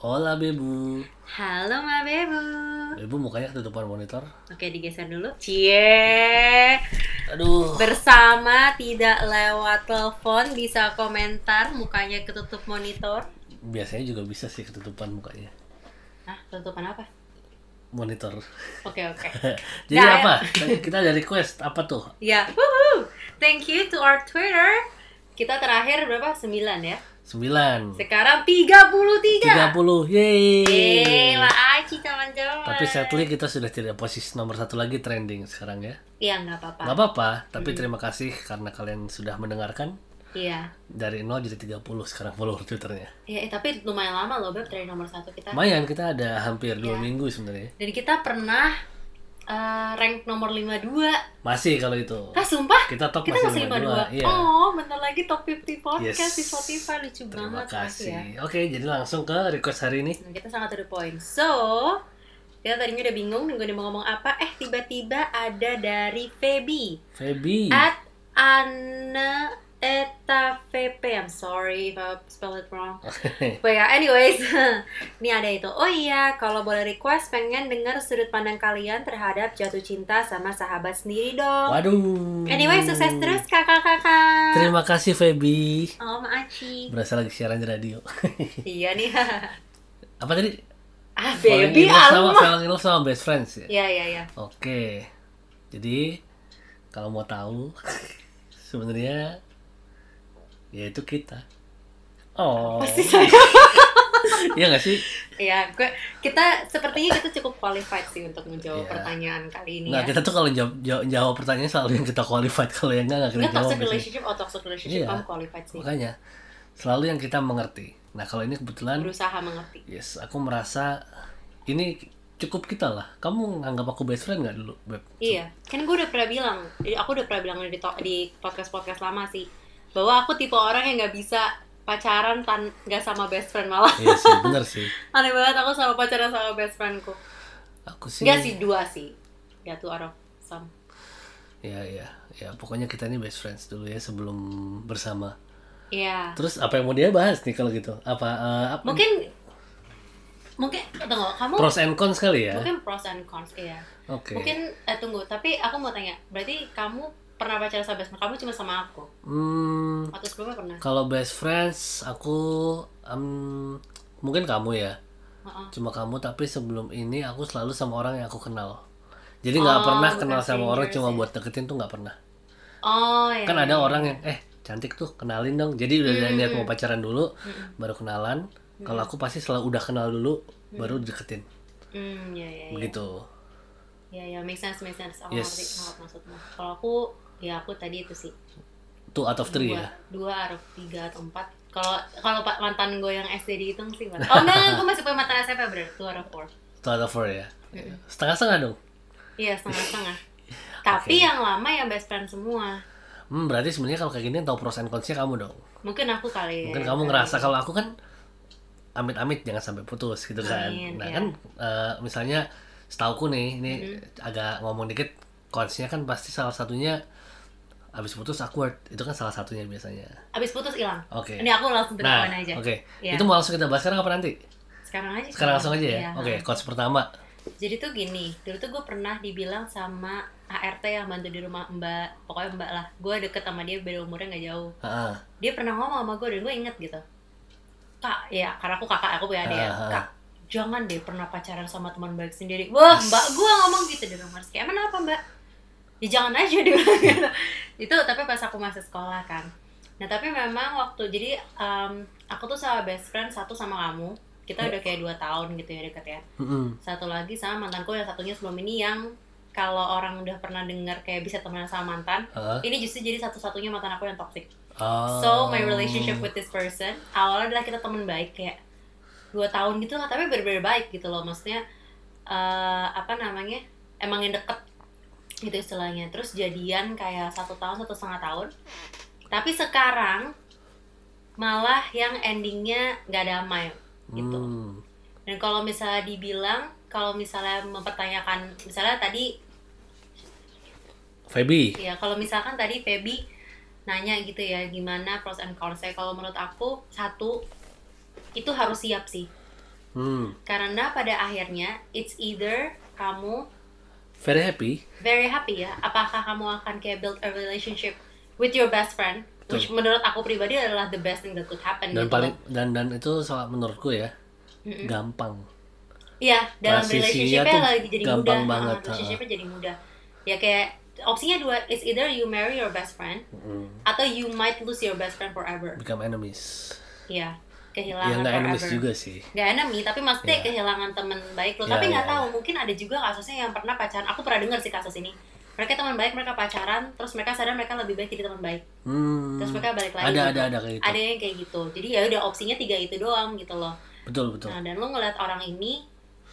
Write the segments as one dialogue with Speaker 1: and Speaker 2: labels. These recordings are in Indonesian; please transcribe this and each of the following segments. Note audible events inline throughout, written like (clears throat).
Speaker 1: Hola Bebu
Speaker 2: Halo Ma Bebu.
Speaker 1: Bebu mukanya ketutupan monitor
Speaker 2: Oke digeser dulu. Cie.
Speaker 1: Aduh
Speaker 2: Bersama tidak lewat telepon bisa komentar mukanya ketutup monitor.
Speaker 1: Biasanya juga bisa sih ketutupan mukanya
Speaker 2: Hah, ketutupan apa?
Speaker 1: Monitor (laughs)
Speaker 2: Oke oke.
Speaker 1: Jadi
Speaker 2: Nah,
Speaker 1: apa? (laughs) Kita ada request apa tuh?
Speaker 2: Ya, wuhu. Thank you to our Twitter. Kita terakhir berapa? 9 ya.
Speaker 1: 9
Speaker 2: Sekarang 33.
Speaker 1: 30 Yeay
Speaker 2: Yeay, makasih teman-teman.
Speaker 1: Tapi sadly kita sudah tidak posisi nomor satu lagi trending sekarang ya
Speaker 2: Iya, nggak apa-apa.
Speaker 1: Gak apa-apa
Speaker 2: Hmm.
Speaker 1: Tapi terima kasih karena kalian sudah mendengarkan
Speaker 2: Iya.
Speaker 1: Dari 0 jadi 30 sekarang follower twitternya
Speaker 2: Ya, eh, tapi lumayan lama loh Beb dari nomor satu kita.
Speaker 1: Lumayan kita ada hampir 2
Speaker 2: Iya.
Speaker 1: minggu sebenarnya
Speaker 2: Dan kita pernah eh, rank nomor 52.
Speaker 1: Masih kalau itu
Speaker 2: Ah, sumpah?
Speaker 1: Kita top
Speaker 2: Kita
Speaker 1: masih
Speaker 2: masih
Speaker 1: 52
Speaker 2: 52.
Speaker 1: Iya
Speaker 2: Oh, bentar lagi top 50 podcast
Speaker 1: Yes.
Speaker 2: di Spotify lucu
Speaker 1: Terima
Speaker 2: banget makasih ya.
Speaker 1: kasih. Oke, jadi langsung ke request hari ini.
Speaker 2: Nah, kita sangat to the point. So, kita tadinya udah bingung nunggu dia mau ngomong apa, eh tiba-tiba ada dari Feby
Speaker 1: Feby.
Speaker 2: at Anne Eta VP. I'm sorry if I spell it wrong.
Speaker 1: (laughs)
Speaker 2: But ya, anyways, (laughs) ini ada itu. Oh iya, kalau boleh request pengen dengar sudut pandang kalian terhadap jatuh cinta sama sahabat sendiri dong.
Speaker 1: Waduh.
Speaker 2: Anyway, sukses terus kakak-kakak.
Speaker 1: Terima kasih Feby.
Speaker 2: Oh, Maaci.
Speaker 1: Berasa lagi siaran di radio.
Speaker 2: iya nih. (laughs)
Speaker 1: Apa tadi?
Speaker 2: ah,
Speaker 1: Falling in
Speaker 2: baby,
Speaker 1: love sama
Speaker 2: alma.
Speaker 1: falling in love sama best friends ya.
Speaker 2: Iya, iya, iya.
Speaker 1: Oke. Jadi kalau mau tahu (laughs) sebenarnya yaitu kita. Oh.
Speaker 2: Pasti saya.
Speaker 1: Iya nggak sih?
Speaker 2: Iya, gue kita sepertinya kita cukup qualified sih untuk menjawab
Speaker 1: Iya.
Speaker 2: pertanyaan kali ini
Speaker 1: Nah,
Speaker 2: ya.
Speaker 1: kita tuh kalau jawab, jawab, jawab pertanyaan selalu yang kita qualified kalau yang enggak nggak kita
Speaker 2: Nggak
Speaker 1: jawab.
Speaker 2: toxic
Speaker 1: biasanya.
Speaker 2: relationship atau toxic relationship
Speaker 1: Iya.
Speaker 2: kamu qualified sih.
Speaker 1: Makanya selalu yang kita mengerti. Nah, kalau ini kebetulan
Speaker 2: Berusaha mengerti.
Speaker 1: Yes, aku merasa ini cukup kita lah. Kamu nganggap aku best friend nggak dulu, Beb?
Speaker 2: Iya, kan gue udah pernah bilang, aku udah pernah bilang di to- di podcast-podcast lama sih bahwa aku tipe orang yang nggak bisa pacaran tan nggak sama best friend
Speaker 1: (laughs)
Speaker 2: malah
Speaker 1: Iya sih, bener sih.
Speaker 2: aneh banget aku sama pacaran sama best friendku
Speaker 1: Aku sih.
Speaker 2: nggak sih dua sih ya tuh orang sama
Speaker 1: Ya, ya, ya. Pokoknya kita ini best friends dulu ya sebelum bersama.
Speaker 2: Iya.
Speaker 1: Terus apa yang mau dia bahas nih kalau gitu? Apa? eh, apa-
Speaker 2: Mungkin mungkin tunggu, kamu
Speaker 1: pros and cons kali ya?
Speaker 2: mungkin pros and cons iya.
Speaker 1: Oke.
Speaker 2: Mungkin eh, tunggu, tapi aku mau tanya, berarti kamu pernah pacaran sama best friend? Kamu cuma sama aku
Speaker 1: Hmm,
Speaker 2: atau sebelumnya pernah?
Speaker 1: kalau best friends aku em, mungkin kamu ya.
Speaker 2: Heeh.
Speaker 1: Cuma kamu tapi sebelum ini aku selalu sama orang yang aku kenal. Jadi nggak
Speaker 2: Oh,
Speaker 1: pernah
Speaker 2: bukan
Speaker 1: kenal sama orang
Speaker 2: strangers
Speaker 1: cuma
Speaker 2: ya.
Speaker 1: buat deketin tuh nggak pernah.
Speaker 2: Oh, iya. Hmm.
Speaker 1: kan ada orang yang eh cantik tuh kenalin dong jadi udah ada niat mau pacaran dulu baru kenalan kalau aku pasti selalu udah kenal dulu baru deketin
Speaker 2: Hmm, iya iya. iya.
Speaker 1: begitu
Speaker 2: Iya iya, make sense, make sense. Aku
Speaker 1: Yes.
Speaker 2: ngerti ngerti maksudmu. Kalau aku ya aku tadi itu sih.
Speaker 1: two out of three
Speaker 2: dua,
Speaker 1: ya
Speaker 2: dua atau tiga atau empat. Kalau kalau pak mantan gue yang SD dihitung sih. Mas. Oh enggak, gue masih punya mantan SMP berarti dua atau four.
Speaker 1: two out of four ya setengah setengah dong
Speaker 2: Iya
Speaker 1: (laughs)
Speaker 2: setengah-setengah. Tapi
Speaker 1: Oke.
Speaker 2: yang lama yang best friend semua.
Speaker 1: hmm, berarti sebenarnya kalau kayak gini yang tahu pros and consnya kamu dong
Speaker 2: Mungkin aku kali. ya.
Speaker 1: mungkin kamu ngerasa kalau aku kan amit-amit jangan sampai putus gitu kan
Speaker 2: Amin,
Speaker 1: nah
Speaker 2: ya.
Speaker 1: kan eh, misalnya setauku nih ini agak ngomong dikit consnya kan pasti salah satunya abis putus awkward itu kan salah satunya biasanya
Speaker 2: abis putus hilang.
Speaker 1: Oke.
Speaker 2: Ini aku langsung
Speaker 1: Nah,
Speaker 2: berkawan aja.
Speaker 1: oke.
Speaker 2: Iya.
Speaker 1: Itu mau langsung kita bahas sekarang apa nanti?
Speaker 2: Sekarang aja.
Speaker 1: Sekarang langsung aja ya.
Speaker 2: Iya.
Speaker 1: Oke, coach pertama.
Speaker 2: Jadi tuh gini, dulu tuh gue pernah dibilang sama ART yang bantu di rumah Mbak, pokoknya Mbak lah. Gue deket sama dia beda umurnya nggak jauh.
Speaker 1: Heeh.
Speaker 2: dia pernah ngomong sama gue dan gue inget gitu kak ya karena aku kakak aku punya adik ya
Speaker 1: Ah.
Speaker 2: kak jangan deh pernah pacaran sama teman baik sendiri wah mbak gue ngomong gitu di rumah kayak emang apa mbak ya jangan aja dia bilang
Speaker 1: (laughs)
Speaker 2: gitu. itu tapi pas aku masih sekolah kan nah tapi memang waktu jadi em, aku tuh sama best friend satu sama kamu kita udah kayak dua tahun gitu ya deket ya
Speaker 1: Mm-mm.
Speaker 2: satu lagi sama mantanku yang satunya sebelum ini yang kalau orang udah pernah dengar kayak bisa temenan sama mantan
Speaker 1: Heeh.
Speaker 2: ini justru jadi satu-satunya mantan aku yang toxic
Speaker 1: Oh.
Speaker 2: So my relationship with this person awalnya adalah kita teman baik kayak dua tahun gitu lah, tapi bener-bener baik gitu loh, maksudnya eh, apa namanya emang yang deket gitu istilahnya. Terus jadian kayak satu tahun satu setengah tahun, tapi sekarang malah yang endingnya nggak damai gitu.
Speaker 1: Hmm.
Speaker 2: Dan kalau misalnya dibilang, kalau misalnya mempertanyakan, misalnya tadi
Speaker 1: Feby
Speaker 2: Ya, kalau misalkan tadi Feby nanya gitu ya, gimana pros and cons-nya. Kalau menurut aku, satu, itu harus siap sih.
Speaker 1: hmm
Speaker 2: Karena pada akhirnya, it's either kamu
Speaker 1: very happy
Speaker 2: very happy ya, apakah kamu akan kayak build a relationship with your best friend, which menurut aku pribadi adalah the best thing that could happen.
Speaker 1: dan
Speaker 2: gitu
Speaker 1: paling
Speaker 2: loh.
Speaker 1: dan dan itu soal menurutku ya gampang
Speaker 2: Iya, dalam
Speaker 1: transisinya
Speaker 2: relationship-nya
Speaker 1: tuh
Speaker 2: lagi jadi
Speaker 1: gampang
Speaker 2: mudah.
Speaker 1: banget,
Speaker 2: Nah, relationship-nya jadi mudah. Ya kayak, opsinya dua, it's either you marry your best friend,
Speaker 1: Hmm.
Speaker 2: atau you might lose your best friend forever.
Speaker 1: become enemies
Speaker 2: Iya,
Speaker 1: ya
Speaker 2: kehilangan
Speaker 1: nggak enemies
Speaker 2: forever.
Speaker 1: juga sih
Speaker 2: Gak enemy, tapi
Speaker 1: Iya.
Speaker 2: maksudnya kehilangan teman baik lo.
Speaker 1: Iya,
Speaker 2: tapi
Speaker 1: iya,
Speaker 2: nggak
Speaker 1: iya.
Speaker 2: tahu, mungkin ada juga kasusnya yang pernah pacaran. Aku pernah dengar sih kasus ini. Mereka teman baik, mereka pacaran, terus mereka sadar mereka lebih baik jadi teman baik.
Speaker 1: hmm
Speaker 2: Terus mereka balik lagi.
Speaker 1: ada
Speaker 2: gitu.
Speaker 1: ada ada kayak gitu
Speaker 2: Ada yang kayak gitu. Jadi ya udah opsinya tiga itu doang gitu loh.
Speaker 1: betul betul
Speaker 2: Nah, dan lo ngeliat orang ini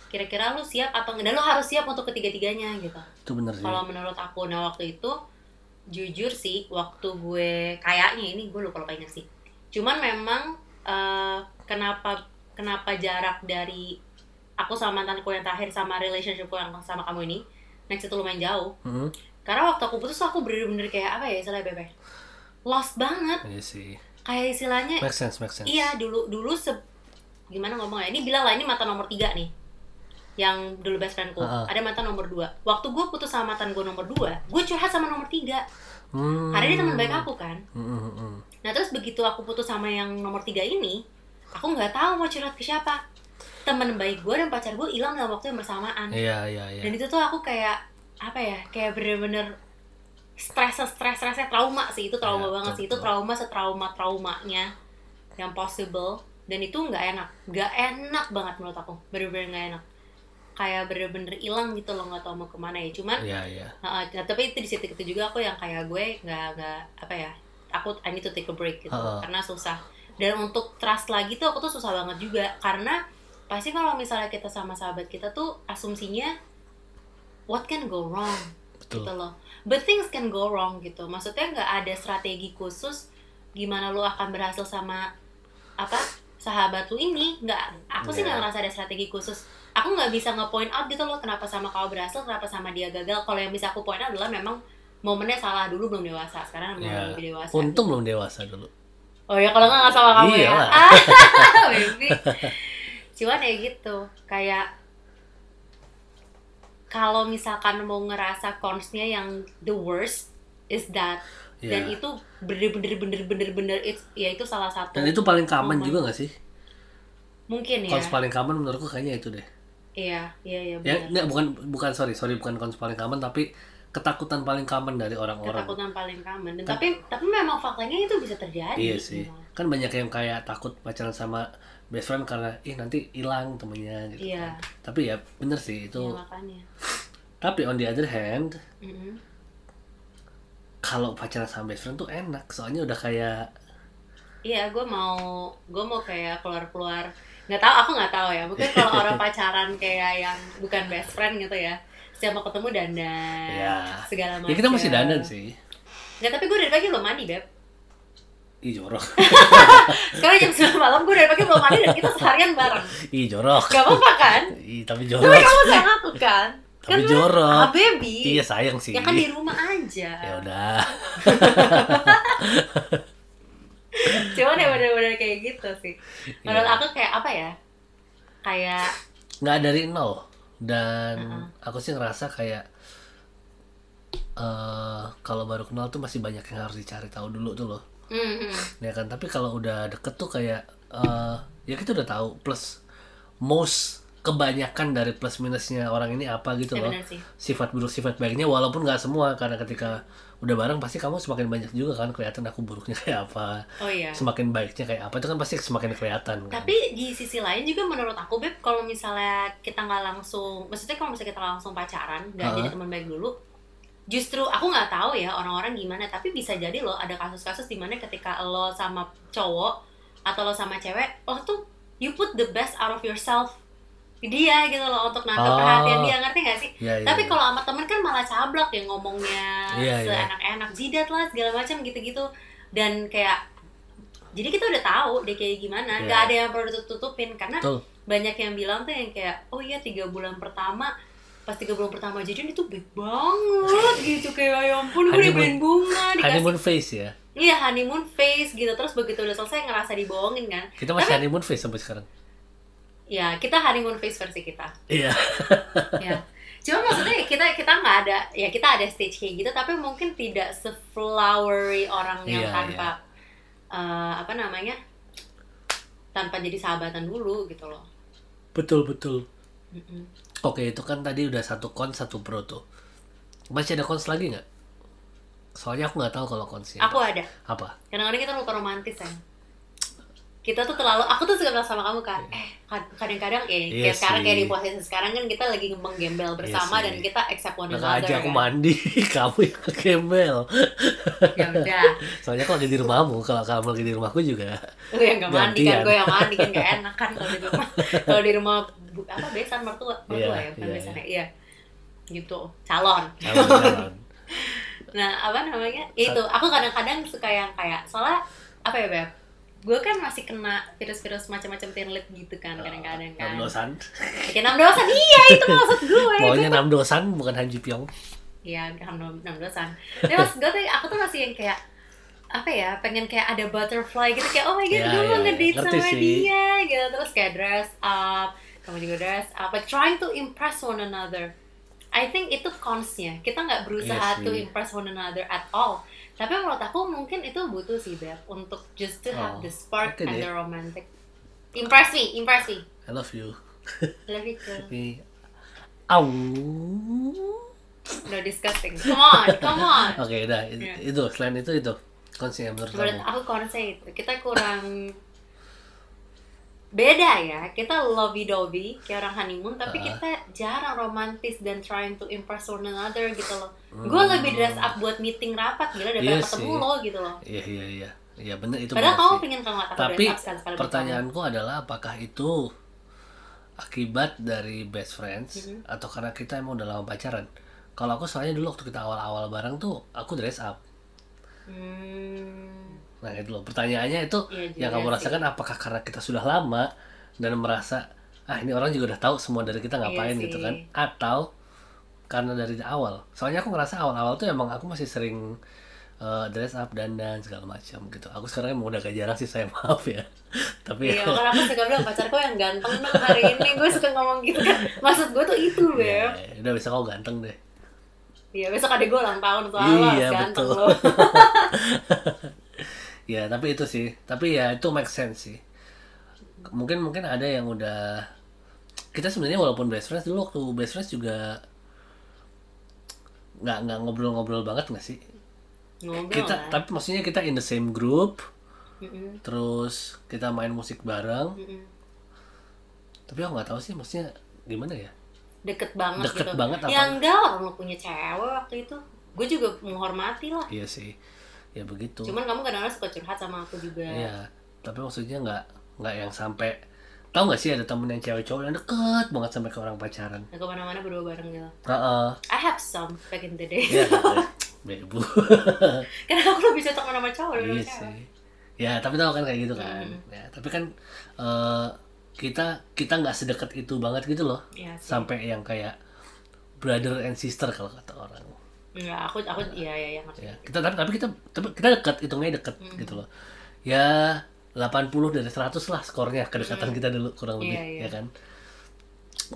Speaker 2: kira-kira lo siap atau enggak? Dan lo harus siap untuk ketiga-tiganya gitu.
Speaker 1: itu bener sih
Speaker 2: Kalau menurut aku, nah waktu itu jujur sih, waktu gue kayaknya ini gue lupa lupa ingat sih. Cuman memang eh, kenapa kenapa jarak dari aku sama mantanku yang terakhir sama relationshipku yang sama kamu ini next itu lumayan jauh.
Speaker 1: hmm
Speaker 2: Karena waktu aku putus aku bener-bener kayak apa ya istilahnya bebe lost banget
Speaker 1: iya sih
Speaker 2: kayak istilahnya
Speaker 1: make sense make sense
Speaker 2: Iya dulu dulu se- gimana ngomong ya ini bilang lah ini mantan nomor tiga nih yang dulu best friendku
Speaker 1: Ah, ah.
Speaker 2: ada mantan nomor dua waktu gue putus sama mantan gue nomor dua gue curhat sama nomor tiga
Speaker 1: hmm.
Speaker 2: karena dia teman baik aku kan
Speaker 1: Hmm, hmm, hmm, hmm.
Speaker 2: nah terus begitu aku putus sama yang nomor tiga ini aku nggak tahu mau curhat ke siapa teman baik gue dan pacar gue hilang dalam waktu yang bersamaan
Speaker 1: iya iya iya
Speaker 2: dan itu tuh aku kayak apa ya kayak bener-bener stres stres stresnya trauma sih itu trauma
Speaker 1: Iya,
Speaker 2: banget
Speaker 1: betul,
Speaker 2: sih itu
Speaker 1: betul.
Speaker 2: trauma setrauma traumanya yang possible dan itu nggak enak nggak enak banget menurut aku bener-bener nggak enak kayak bener-bener hilang gitu loh nggak tahu mau kemana ya cuman
Speaker 1: iya iya
Speaker 2: Nah, nah, tapi itu di situ itu juga aku yang kayak gue nggak nggak apa ya aku I need to take a break gitu
Speaker 1: Heeh.
Speaker 2: karena susah dan untuk trust lagi tuh aku tuh susah banget juga karena pasti kalau misalnya kita sama sahabat kita tuh asumsinya what can go wrong
Speaker 1: Betul.
Speaker 2: gitu loh but things can go wrong gitu maksudnya nggak ada strategi khusus gimana lu akan berhasil sama apa sahabat lu ini nggak aku sih
Speaker 1: Iya.
Speaker 2: nggak ngerasa ada strategi khusus aku nggak bisa nge-point out gitu loh kenapa sama kau berhasil kenapa sama dia gagal kalau yang bisa aku point out adalah memang momennya salah dulu belum dewasa sekarang memang
Speaker 1: Iya.
Speaker 2: lebih dewasa
Speaker 1: untung belum dewasa dulu
Speaker 2: oh ya kalau nggak nggak sama kamu ya
Speaker 1: Iyalah.
Speaker 2: Ah, (laughs)
Speaker 1: (laughs)
Speaker 2: baby cuman ya gitu kayak kalau misalkan mau ngerasa consnya yang the worst is that
Speaker 1: Iya.
Speaker 2: dan itu bener-bener bener-bener bener it's ya itu salah satu
Speaker 1: dan itu paling common
Speaker 2: Momen.
Speaker 1: juga gak sih
Speaker 2: mungkin ya
Speaker 1: kons paling common menurutku kayaknya itu deh
Speaker 2: iya iya iya
Speaker 1: ya
Speaker 2: benar
Speaker 1: nggak, bukan bukan sorry sorry bukan kons paling common tapi ketakutan paling common dari orang-orang
Speaker 2: ketakutan paling common Dan tapi tapi memang faktanya itu bisa
Speaker 1: Kan
Speaker 2: terjadi
Speaker 1: Iya sih.
Speaker 2: memang.
Speaker 1: Kan banyak yang kayak takut pacaran sama best friend karena ih nanti hilang temennya gitu.
Speaker 2: Iya.
Speaker 1: kan. Tapi ya bener sih itu.
Speaker 2: Iya, makanya
Speaker 1: Tapi on the other hand,
Speaker 2: Mm-mm.
Speaker 1: kalau pacaran sama best friend tuh enak. Soalnya udah kayak
Speaker 2: Iya, gue mau gue mau kayak keluar-keluar. Nggak tahu, aku nggak tahu ya. Mungkin kalau
Speaker 1: (laughs)
Speaker 2: orang pacaran kayak yang bukan best friend gitu ya. Setiap mau ketemu dandan,
Speaker 1: Iya.
Speaker 2: segala macam.
Speaker 1: ya kita masih dandan sih.
Speaker 2: Nggak, tapi gue dari pagi belum mandi, Beb.
Speaker 1: Ih jorok. (laughs)
Speaker 2: Sekarang jam 9 malam gue dari pagi belum mandi dan kita seharian bareng.
Speaker 1: Ih jorok.
Speaker 2: Gak apa-apa kan?
Speaker 1: Ih tapi
Speaker 2: (laughs) Tapi
Speaker 1: jorok.
Speaker 2: kamu sayang aku kan?
Speaker 1: Tapi
Speaker 2: kan Ah,
Speaker 1: jorok.
Speaker 2: baby.
Speaker 1: Iya sayang sih.
Speaker 2: Ya kan di rumah aja.
Speaker 1: Ya udah.
Speaker 2: Cuman ya bener-bener kayak gitu sih. (laughs) Menurut
Speaker 1: Iya.
Speaker 2: aku kayak apa ya? Kayak
Speaker 1: nggak dari nol dan aku sih ngerasa kayak eh kalau baru kenal tuh masih banyak yang harus dicari tahu dulu tuh loh
Speaker 2: mm, mm.
Speaker 1: ya kan tapi kalau udah deket tuh kayak eh ya kita udah tahu plus most kebanyakan dari plus minusnya orang ini apa gitu
Speaker 2: Ya,
Speaker 1: loh
Speaker 2: bener sih.
Speaker 1: sifat buruk sifat baiknya walaupun nggak semua karena ketika udah bareng pasti kamu semakin banyak juga kan kelihatan aku buruknya kayak apa
Speaker 2: Oh iya.
Speaker 1: semakin baiknya kayak apa itu kan pasti semakin kelihatan kan
Speaker 2: Tapi di sisi lain juga menurut aku Beb, kalau misalnya kita nggak langsung, maksudnya kalau misalnya kita langsung pacaran, nggak
Speaker 1: Heeh.
Speaker 2: jadi teman baik dulu, justru aku nggak tahu ya orang-orang gimana, tapi bisa jadi loh ada kasus-kasus dimana ketika lo sama cowok atau lo sama cewek, lo tuh you put the best out of yourself ke dia gitu loh untuk nangkep
Speaker 1: Oh.
Speaker 2: perhatian dia ngerti gak sih?
Speaker 1: ya, ya, ya.
Speaker 2: Tapi kalau sama temen kan malah cablak ya ngomongnya
Speaker 1: Iya, iya.
Speaker 2: seenak-enak jidat lah segala macam gitu-gitu dan kayak jadi kita udah tahu deh kayak gimana
Speaker 1: Iya.
Speaker 2: nggak ada yang perlu ditutupin karena
Speaker 1: Betul.
Speaker 2: banyak yang bilang tuh yang kayak oh iya tiga bulan pertama pas tiga bulan pertama jadian itu baik banget gitu kayak ya ampun gue
Speaker 1: Honeymoon-
Speaker 2: dibeliin bunga dikasih
Speaker 1: honeymoon phase ya
Speaker 2: iya honeymoon face gitu terus begitu udah selesai ngerasa dibohongin kan
Speaker 1: kita masih honeymoon phase sampai sekarang
Speaker 2: ya kita honeymoon face versi kita
Speaker 1: iya
Speaker 2: ya cuma maksudnya kita kita nggak ada ya kita ada stage kayak gitu tapi mungkin tidak seflowery orang yang
Speaker 1: Iya,
Speaker 2: tanpa eh, apa namanya tanpa jadi sahabatan dulu gitu loh
Speaker 1: betul betul
Speaker 2: Mm-mm.
Speaker 1: oke itu kan tadi udah satu cons satu pro tuh masih ada cons lagi nggak soalnya aku nggak tahu kalau consnya
Speaker 2: aku ada
Speaker 1: apa
Speaker 2: kadang-kadang kita lupa romantis ya kita tuh terlalu aku tuh suka bilang sama kamu kan eh kad- kadang-kadang ya
Speaker 1: Iya
Speaker 2: kayak sekarang
Speaker 1: sih. Iya
Speaker 2: kayak di posisi sekarang kan kita lagi menggembel bersama
Speaker 1: sih.
Speaker 2: dan kita accept one
Speaker 1: Nggak
Speaker 2: another
Speaker 1: aja aku
Speaker 2: kan.
Speaker 1: mandi, (laughs) kamu yang kegembel.
Speaker 2: ya udah
Speaker 1: Soalnya kalau lagi di rumahmu, kalau kamu lagi di rumahku
Speaker 2: (laughs)
Speaker 1: juga.
Speaker 2: lu yang gak mandi
Speaker 1: Gantian.
Speaker 2: kan gue yang mandi kan gak enak kan kalau di
Speaker 1: (laughs)
Speaker 2: rumah kalau di rumah bu- apa besan mertua mertua
Speaker 1: Iya,
Speaker 2: ya bukan
Speaker 1: iya,
Speaker 2: besan ya iya gitu calon
Speaker 1: Jalan-jalan.
Speaker 2: nah apa namanya itu aku kadang-kadang suka yang kayak soalnya apa ya beb gue kan masih kena virus-virus macam-macam tinlit gitu kan kadang-kadang
Speaker 1: Ah,
Speaker 2: kan
Speaker 1: Enam dosan.
Speaker 2: bikin enam dosan iya itu maksud gue
Speaker 1: Maunya enam dosan bukan Hanji Pyong.
Speaker 2: Iya, udah enam enam dosan. Tapi mas gue tuh, aku tuh masih yang kayak apa ya, pengen kayak ada butterfly gitu kayak oh my god,
Speaker 1: Ya,
Speaker 2: gue mau
Speaker 1: ya, ya.
Speaker 2: ngedate
Speaker 1: Ngerti
Speaker 2: sama
Speaker 1: sih.
Speaker 2: dia gitu terus kayak dress up, kamu juga dress up, but trying to impress one another. I think itu consnya. Kita nggak
Speaker 1: Iya sih.
Speaker 2: berusaha to impress one another at all. Tapi menurut aku mungkin itu butuh sih Beb untuk just to
Speaker 1: Oh,
Speaker 2: have the spark
Speaker 1: oke
Speaker 2: and
Speaker 1: deh.
Speaker 2: the romantic. Impress me, impress me.
Speaker 1: I love you.
Speaker 2: Love you too.
Speaker 1: Ini- Au.
Speaker 2: No disgusting. Come on, come on.
Speaker 1: Oke, udah. It-
Speaker 2: Iya.
Speaker 1: Itu selain itu itu konsepnya menurut
Speaker 2: menurut
Speaker 1: kamu.
Speaker 2: aku konsep itu kita kurang (laughs) beda ya kita lovey dovey kayak orang honeymoon tapi
Speaker 1: Ah.
Speaker 2: kita jarang romantis dan trying to impress one another gitu loh
Speaker 1: Hmm.
Speaker 2: gue lebih dress up buat meeting rapat gila daripada
Speaker 1: Iya
Speaker 2: ketemu
Speaker 1: sih.
Speaker 2: lo gitu loh
Speaker 1: Iya, iya, iya. Iya, bener itu.
Speaker 2: padahal
Speaker 1: bener
Speaker 2: kamu
Speaker 1: sih.
Speaker 2: pengen kan ngeliat aku
Speaker 1: Tapi
Speaker 2: dress up sekali-sekali buat
Speaker 1: pertanyaanku adalah apakah itu akibat dari best friends
Speaker 2: Mm-hmm.
Speaker 1: atau karena kita emang udah lama pacaran? Kalau aku soalnya dulu waktu kita awal-awal bareng tuh aku dress up.
Speaker 2: kamu. hmm,
Speaker 1: Nah itu loh pertanyaannya itu
Speaker 2: Iya juga
Speaker 1: yang kamu
Speaker 2: sih.
Speaker 1: rasakan apakah karena kita sudah lama dan merasa ah ini orang juga udah tahu semua dari kita ngapain
Speaker 2: Iya
Speaker 1: gitu
Speaker 2: sih.
Speaker 1: kan? Atau karena dari awal? Soalnya aku ngerasa awal-awal tuh emang aku masih sering eh, dress up dandan segala macam gitu. Aku sekarang emang udah gak jarang sih saya (laughs) maaf ya. Tapi
Speaker 2: iya makanya aku suka bilang pacarku yang ganteng dong hari ini gue suka ngomong gitu kan maksud gue tuh itu
Speaker 1: Ya,
Speaker 2: beb
Speaker 1: udah bisa kau ganteng deh.
Speaker 2: iya besok ada gue ulang tahun soalnya lo
Speaker 1: Iya,
Speaker 2: harus ganteng
Speaker 1: betul.
Speaker 2: lo
Speaker 1: Ya, tapi itu sih. Tapi ya itu make sense sih. Mungkin mungkin ada yang udah kita sebenarnya walaupun best friends dulu waktu best friends juga nggak nggak ngobrol-ngobrol banget nggak sih
Speaker 2: (laughs) ngobrol
Speaker 1: kita
Speaker 2: lah.
Speaker 1: tapi maksudnya kita in the same group
Speaker 2: Mm-mm.
Speaker 1: terus kita main musik bareng
Speaker 2: Mm-mm.
Speaker 1: tapi aku nggak tahu sih maksudnya gimana ya
Speaker 2: deket banget
Speaker 1: Deket
Speaker 2: gitu.
Speaker 1: banget apa?
Speaker 2: Ya enggak orang lu punya cewek waktu itu. Gue juga menghormati lah.
Speaker 1: iya sih ya begitu
Speaker 2: Cuman ya. kamu kadang-kadang suka curhat sama aku juga.
Speaker 1: Iya, tapi maksudnya nggak nggak yang sampai tahu nggak sih ada temen yang cewek cowok yang deket banget sampai ke orang pacaran.
Speaker 2: Nah, kemana-mana berdua bareng gitu.
Speaker 1: Heeh.
Speaker 2: I have some back in the day. (laughs)
Speaker 1: Iya. gitu. Bebu.
Speaker 2: Karena aku lebih cocok sama cowok
Speaker 1: (laughs) iya
Speaker 2: daripada cewek.
Speaker 1: sih. Ya, tapi tahu kan kayak gitu kan.
Speaker 2: Hmm.
Speaker 1: Ya, tapi kan eh, kita kita nggak sedekat itu banget gitu loh.
Speaker 2: Iya sih.
Speaker 1: Sampai yang kayak brother and sister kalau kata orang.
Speaker 2: Enggak, aku aku iya iya iya ngerti.
Speaker 1: Ya, kita tapi, tapi kita tapi kita dekat, hitungnya dekat
Speaker 2: Mm.
Speaker 1: gitu loh. Ya 80 dari 100 lah skornya kedekatan kita dulu kurang lebih
Speaker 2: Iya,
Speaker 1: ya
Speaker 2: iya.
Speaker 1: kan.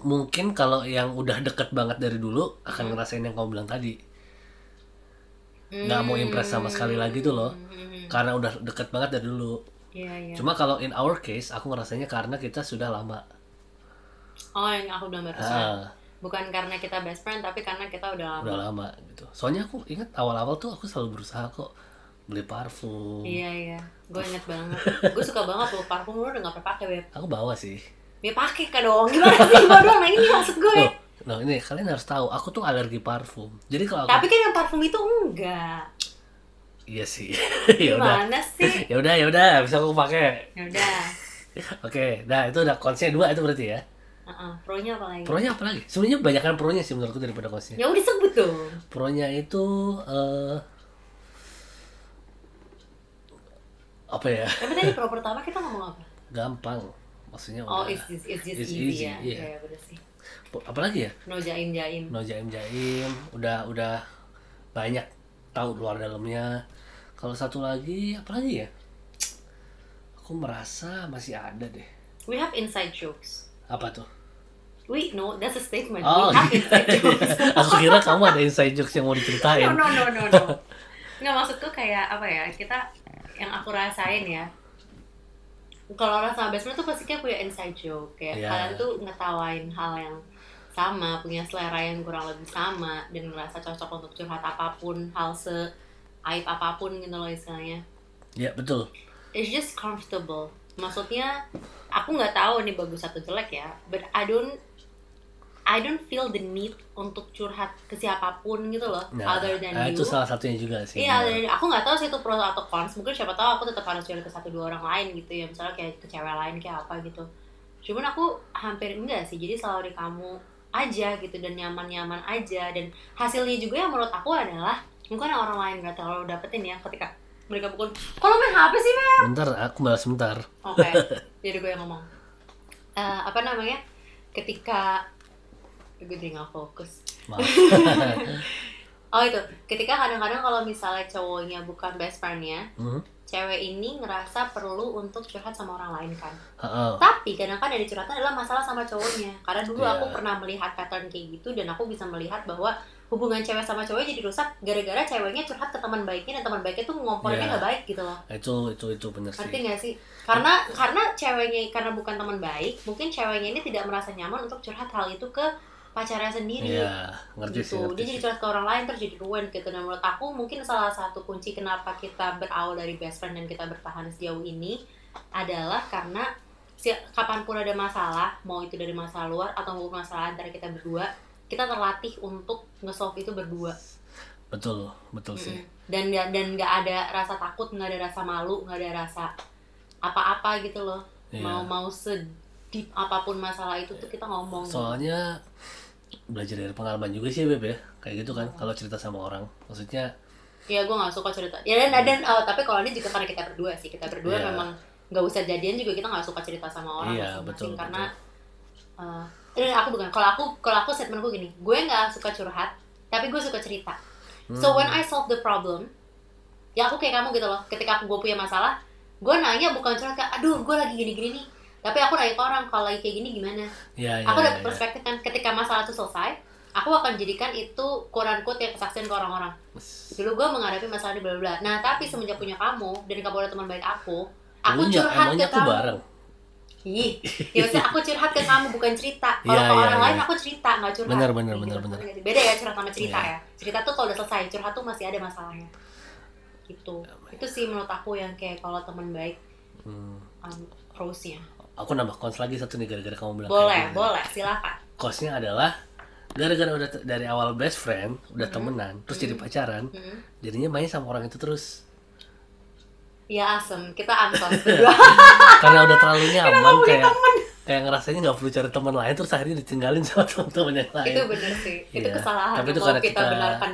Speaker 1: Mungkin kalau yang udah deket banget dari dulu akan
Speaker 2: Hmm.
Speaker 1: ngerasain yang kamu bilang tadi. Nggak mau impress sama sekali lagi tuh loh.
Speaker 2: Hmm.
Speaker 1: Karena udah deket banget dari dulu.
Speaker 2: Iya iya.
Speaker 1: Cuma kalau in our case aku ngerasanya karena kita sudah lama.
Speaker 2: Oh, yang aku bilang barusan.
Speaker 1: Ah,
Speaker 2: Bukan karena kita best friend, tapi karena kita udah
Speaker 1: udah
Speaker 2: lama.
Speaker 1: lama gitu. Soalnya aku ingat awal-awal tuh aku selalu berusaha kok beli parfum.
Speaker 2: Iya iya. Gue inget banget. Gue suka banget tuh parfum lu udah gak pernah pakai, Beb.
Speaker 1: Aku bawa sih.
Speaker 2: Ya pakai kan dong. Gimana sih? Gue doang. Nah, ini maksud gue.
Speaker 1: Loh, nah ini kalian harus tahu, aku tuh alergi parfum. Jadi kalau aku
Speaker 2: Tapi kan yang parfum itu enggak.
Speaker 1: Iya
Speaker 2: (laughs)
Speaker 1: sih. ya udah.
Speaker 2: Gimana
Speaker 1: (laughs)
Speaker 2: sih?
Speaker 1: Ya udah, ya udah, bisa aku pakai.
Speaker 2: Ya udah.
Speaker 1: Oke, nah itu udah konsepnya dua itu berarti ya.
Speaker 2: Uh-uh, Pro-nya apa lagi?
Speaker 1: Pronya apa lagi? Sebenarnya banyakkan pronya sih menurutku daripada konsepnya.
Speaker 2: Ya udah sebut dong.
Speaker 1: Pronya itu eh apa ya?
Speaker 2: Tapi tadi pro pertama kita ngomong apa?
Speaker 1: Gampang. Maksudnya
Speaker 2: Oh,
Speaker 1: udah.
Speaker 2: it's just, it's just
Speaker 1: It's easy,
Speaker 2: easy, ya.
Speaker 1: iya.
Speaker 2: Iya, bener sih.
Speaker 1: Po- apalagi ya
Speaker 2: no jaim jaim
Speaker 1: no jaim jaim udah udah banyak tahu luar dalamnya kalau satu lagi apalagi ya aku merasa masih ada deh
Speaker 2: we have inside jokes
Speaker 1: apa tuh
Speaker 2: we no that's a statement
Speaker 1: oh iya.
Speaker 2: we
Speaker 1: (laughs)
Speaker 2: have inside jokes
Speaker 1: aku kira kamu ada inside jokes yang mau
Speaker 2: no
Speaker 1: diceritain
Speaker 2: no no no
Speaker 1: (laughs)
Speaker 2: no nggak maksudku kayak apa ya kita yang aku rasain ya kalau orang sama basement tuh pasti kayak punya inside joke kayak
Speaker 1: Iya.
Speaker 2: kalian tuh ngetawain hal yang sama punya selera yang kurang lebih sama dan ngerasa cocok untuk curhat apapun hal se aib apapun gitu loh istilahnya
Speaker 1: ya betul
Speaker 2: it's just comfortable maksudnya aku nggak tahu nih bagus atau jelek ya but I don't I don't feel the need untuk curhat ke siapapun gitu loh
Speaker 1: nah,
Speaker 2: other than
Speaker 1: nah,
Speaker 2: you
Speaker 1: itu salah satunya juga sih
Speaker 2: Iya, dan aku nggak tahu sih itu pro atau cons. Mungkin siapa tahu aku tetap harus cari ke satu dua orang lain gitu ya, misalnya kayak ke cewek lain kayak apa gitu. Cuman aku hampir enggak sih, jadi selalu di kamu aja gitu dan nyaman-nyaman aja dan hasilnya juga yang menurut aku adalah mungkin orang lain nggak terlalu dapetin ya ketika mereka bukan kalau main HP sih Mel?
Speaker 1: bentar aku balas bentar
Speaker 2: Oke, jadi gue yang ngomong. Eh, apa namanya? Ketika gue jadi nggak fokus. (laughs)
Speaker 1: maaf
Speaker 2: Oh itu, ketika kadang-kadang kalau misalnya cowoknya bukan best friendnya,
Speaker 1: Hmm,
Speaker 2: cewek ini ngerasa perlu untuk curhat sama orang lain kan.
Speaker 1: heeh.
Speaker 2: Tapi kadang-kadang dari curhatan adalah masalah sama cowoknya. Karena dulu
Speaker 1: Iya.
Speaker 2: aku pernah melihat pattern kayak gitu dan aku bisa melihat bahwa hubungan cewek sama cowok jadi rusak gara-gara ceweknya curhat ke teman baiknya dan teman baiknya tuh ngomporinnya
Speaker 1: Iya.
Speaker 2: nggak baik gitu loh.
Speaker 1: itu itu itu bener
Speaker 2: Ngerti
Speaker 1: sih
Speaker 2: nggak sih? Karena karena ceweknya karena bukan teman baik, mungkin ceweknya ini tidak merasa nyaman untuk curhat hal itu ke pacarnya sendiri
Speaker 1: Iya, ngerti sih
Speaker 2: gitu
Speaker 1: ngerti
Speaker 2: dia jadi
Speaker 1: sih.
Speaker 2: curhat ke orang lain terus jadi ruin gitu dan menurut aku mungkin salah satu kunci kenapa kita berawal dari best friend dan kita bertahan sejauh ini adalah karena si, kapanpun ada masalah mau itu dari masalah luar atau mau masalah antara kita berdua kita terlatih untuk nge-solve itu berdua
Speaker 1: betul betul sih
Speaker 2: Mm-mm. dan nggak- dan nggak ada rasa takut nggak ada rasa malu nggak ada rasa apa-apa gitu loh
Speaker 1: Iya.
Speaker 2: mau mau sedip apapun masalah itu tuh kita ngomong
Speaker 1: soalnya belajar dari pengalaman juga sih beb ya kayak gitu kan kalau cerita sama orang maksudnya
Speaker 2: Iya, gue gak suka cerita. Ya dan dan oh, tapi kalau ini juga karena kita berdua sih, kita berdua
Speaker 1: Iya.
Speaker 2: memang nggak usah jadian juga kita nggak suka cerita sama orang
Speaker 1: Iya, betul,
Speaker 2: masing-masing karena eh, ini aku bukan. Kalau aku kalau aku statementku gini, gue nggak suka curhat, tapi gue suka cerita. So when
Speaker 1: Hmm.
Speaker 2: I solve the problem, ya aku kayak kamu gitu loh. Ketika aku gue punya masalah, gue nanya bukan curhat kayak, aduh gue lagi gini-gini nih. Tapi aku nanya ke orang kalau lagi kayak gini gimana
Speaker 1: ya ya,
Speaker 2: aku
Speaker 1: ya,
Speaker 2: dapat
Speaker 1: ya.
Speaker 2: perspektif kan ketika masalah itu selesai aku akan jadikan itu koran kut yang kesaksian ke orang-orang dulu gue menghadapi masalah di bla bla bla. nah tapi semenjak punya kamu dan kamu ada teman baik aku aku
Speaker 1: Dulunya,
Speaker 2: curhat ke
Speaker 1: emangnya aku
Speaker 2: kamu
Speaker 1: bareng
Speaker 2: Ih, ya maksudnya aku curhat ke kamu bukan
Speaker 1: (laughs)
Speaker 2: cerita kalau
Speaker 1: Iya,
Speaker 2: ke
Speaker 1: iya,
Speaker 2: orang
Speaker 1: iya.
Speaker 2: lain aku cerita nggak curhat
Speaker 1: Benar, benar,
Speaker 2: Gitu.
Speaker 1: benar, benar. Iya.
Speaker 2: beda ya curhat sama cerita ya cerita tuh kalau udah selesai curhat tuh masih ada masalahnya gitu itu sih menurut aku yang kayak kalau teman baik
Speaker 1: Hmm.
Speaker 2: um, rose nya
Speaker 1: aku nambah kons lagi satu nih gara-gara kamu bilang
Speaker 2: boleh
Speaker 1: kayak gitu.
Speaker 2: boleh silakan
Speaker 1: Consnya adalah gara-gara udah t- dari awal best friend udah
Speaker 2: Hmm.
Speaker 1: temenan terus jadi pacaran
Speaker 2: Mm-mm.
Speaker 1: jadinya main sama orang itu terus
Speaker 2: ya asem kita
Speaker 1: (laughs)
Speaker 2: ansos berdua
Speaker 1: karena udah terlalu nyaman
Speaker 2: punya
Speaker 1: kayak kayak ngerasanya nggak perlu cari teman lain terus akhirnya ditinggalin sama (laughs) teman-teman yang lain
Speaker 2: itu bener sih itu
Speaker 1: Iya.
Speaker 2: kesalahan
Speaker 1: Tapi
Speaker 2: yang
Speaker 1: itu
Speaker 2: mau
Speaker 1: karena
Speaker 2: kita,
Speaker 1: kita-
Speaker 2: benarkan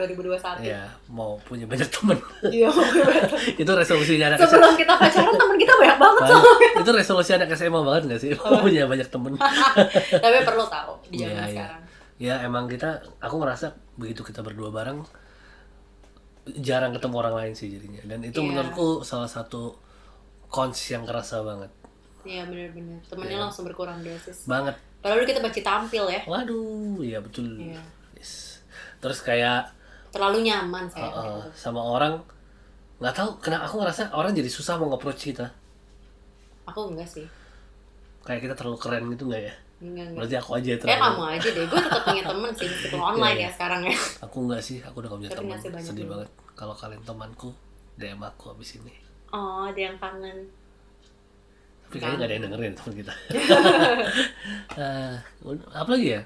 Speaker 2: 2021
Speaker 1: Iya, mau punya banyak teman
Speaker 2: iya bener.
Speaker 1: (laughs) itu resolusinya anak
Speaker 2: sebelum
Speaker 1: (laughs)
Speaker 2: kita pacaran teman kita banyak banget
Speaker 1: Nah, Banyak.
Speaker 2: soalnya
Speaker 1: itu resolusi anak SMA banget gak sih? Mau punya banyak temen
Speaker 2: tapi perlu tahu di zaman
Speaker 1: Iya, iya.
Speaker 2: sekarang
Speaker 1: Ya emang kita, aku ngerasa begitu kita berdua bareng Jarang ketemu orang lain sih jadinya Dan itu
Speaker 2: Iya.
Speaker 1: menurutku salah satu cons yang kerasa banget
Speaker 2: iya bener-bener temennya langsung berkurang dosis
Speaker 1: Banget
Speaker 2: padahal dulu kita baca tampil ya
Speaker 1: Waduh, ya betul
Speaker 2: Iya.
Speaker 1: Yes. Terus kayak
Speaker 2: terlalu nyaman saya
Speaker 1: uh, sama orang nggak tahu kenapa aku ngerasa orang jadi susah mau nge-approach kita
Speaker 2: aku enggak sih
Speaker 1: Kayak kita terlalu keren gitu nggak ya?
Speaker 2: enggak enggak
Speaker 1: Berarti aku aja yang
Speaker 2: Iya. Kayak
Speaker 1: terlalu
Speaker 2: kamu aja deh, gue tetap punya temen sih, meskipun online
Speaker 1: Iya,
Speaker 2: ya sekarang ya
Speaker 1: Aku nggak sih, aku udah gak punya
Speaker 2: Tapi
Speaker 1: teman
Speaker 2: ngasih banyak
Speaker 1: Sedih
Speaker 2: dulu.
Speaker 1: banget Kalau kalian temanku, DM aku abis ini
Speaker 2: Oh, ada yang kangen
Speaker 1: Tapi
Speaker 2: Nah.
Speaker 1: kayaknya gak ada yang dengerin teman
Speaker 2: (laughs)
Speaker 1: kita. Eh, apa lagi ya?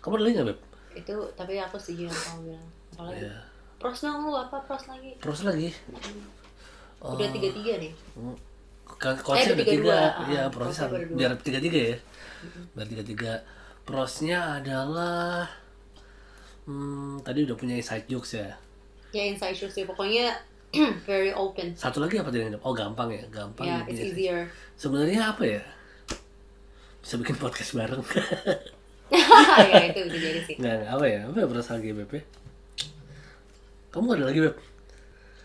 Speaker 1: Kamu ada lagi gak, Beb?
Speaker 2: Itu, tapi aku setuju yang kamu bilang Apa lagi?
Speaker 1: Iya.
Speaker 2: Pros dong lu, apa pros lagi?
Speaker 1: Terus lagi? Eh,
Speaker 2: Udah
Speaker 1: Oh.
Speaker 2: tiga-tiga nih
Speaker 1: kan Konsep
Speaker 2: Eh,
Speaker 1: ada tiga.
Speaker 2: tiga-dua. Ah,
Speaker 1: Iya,
Speaker 2: prosnya
Speaker 1: prosnya
Speaker 2: baru dua.
Speaker 1: biar tiga-tiga ya. Biar tiga-tiga. Prosnya adalah... Hmm, tadi udah punya side jokes ya.
Speaker 2: Ya inside shoes sih, pokoknya (clears throat) very open.
Speaker 1: Satu lagi apa tadi? yang- Oh, gampang ya. Gampang.
Speaker 2: Ya,
Speaker 1: punya
Speaker 2: it's
Speaker 1: side-
Speaker 2: easier.
Speaker 1: Sebenarnya apa ya? bisa bikin podcast bareng
Speaker 2: (laughs)
Speaker 1: (laughs)
Speaker 2: ya itu bisa jadi sih
Speaker 1: nggak nggak, apa ya apa ya perasaan GBP kamu nggak ada lagi beb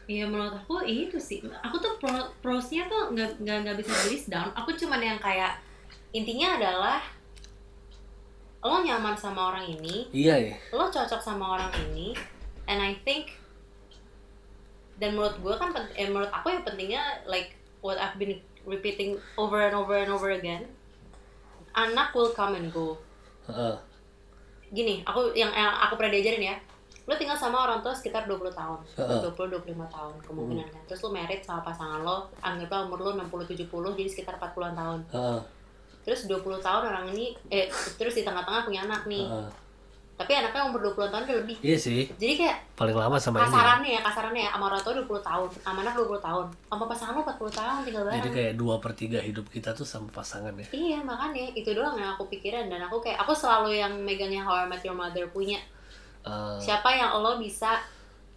Speaker 2: Iya menurut aku itu sih. Aku tuh pro, prosnya tuh nggak nggak nggak bisa list down. Aku cuman yang kayak intinya adalah lo nyaman sama orang ini,
Speaker 1: iya ya
Speaker 2: lo cocok sama orang ini, and I think dan menurut gue kan pent- eh, menurut aku yang pentingnya like what I've been repeating over and over and over again, anak will come and go.
Speaker 1: Heeh.
Speaker 2: Gini, aku yang, yang aku pernah diajarin ya, lo tinggal sama orang tua sekitar 20 tahun,
Speaker 1: Heeh. Hmm.
Speaker 2: 20-25 tahun kemungkinan kan. Terus lo married sama pasangan lo, anggaplah umur lo 60-70, jadi sekitar 40-an tahun.
Speaker 1: Heeh.
Speaker 2: Terus 20 tahun orang ini, eh terus di tengah-tengah punya anak nih.
Speaker 1: Heeh.
Speaker 2: Tapi anaknya umur 20 tahun udah lebih.
Speaker 1: iya sih
Speaker 2: Jadi kayak
Speaker 1: paling lama sama ini ya.
Speaker 2: kasarannya ya, kasarannya ya, sama orang tua 20 tahun, sama anak 20 tahun, sama pasangan lo 40 tahun tinggal
Speaker 1: jadi
Speaker 2: bareng.
Speaker 1: kayak dua per tiga hidup kita tuh sama pasangan ya
Speaker 2: Iya makanya itu doang yang aku pikirin dan aku kayak aku selalu yang megangnya How I Met Your Mother punya
Speaker 1: Heeh.
Speaker 2: siapa yang lo bisa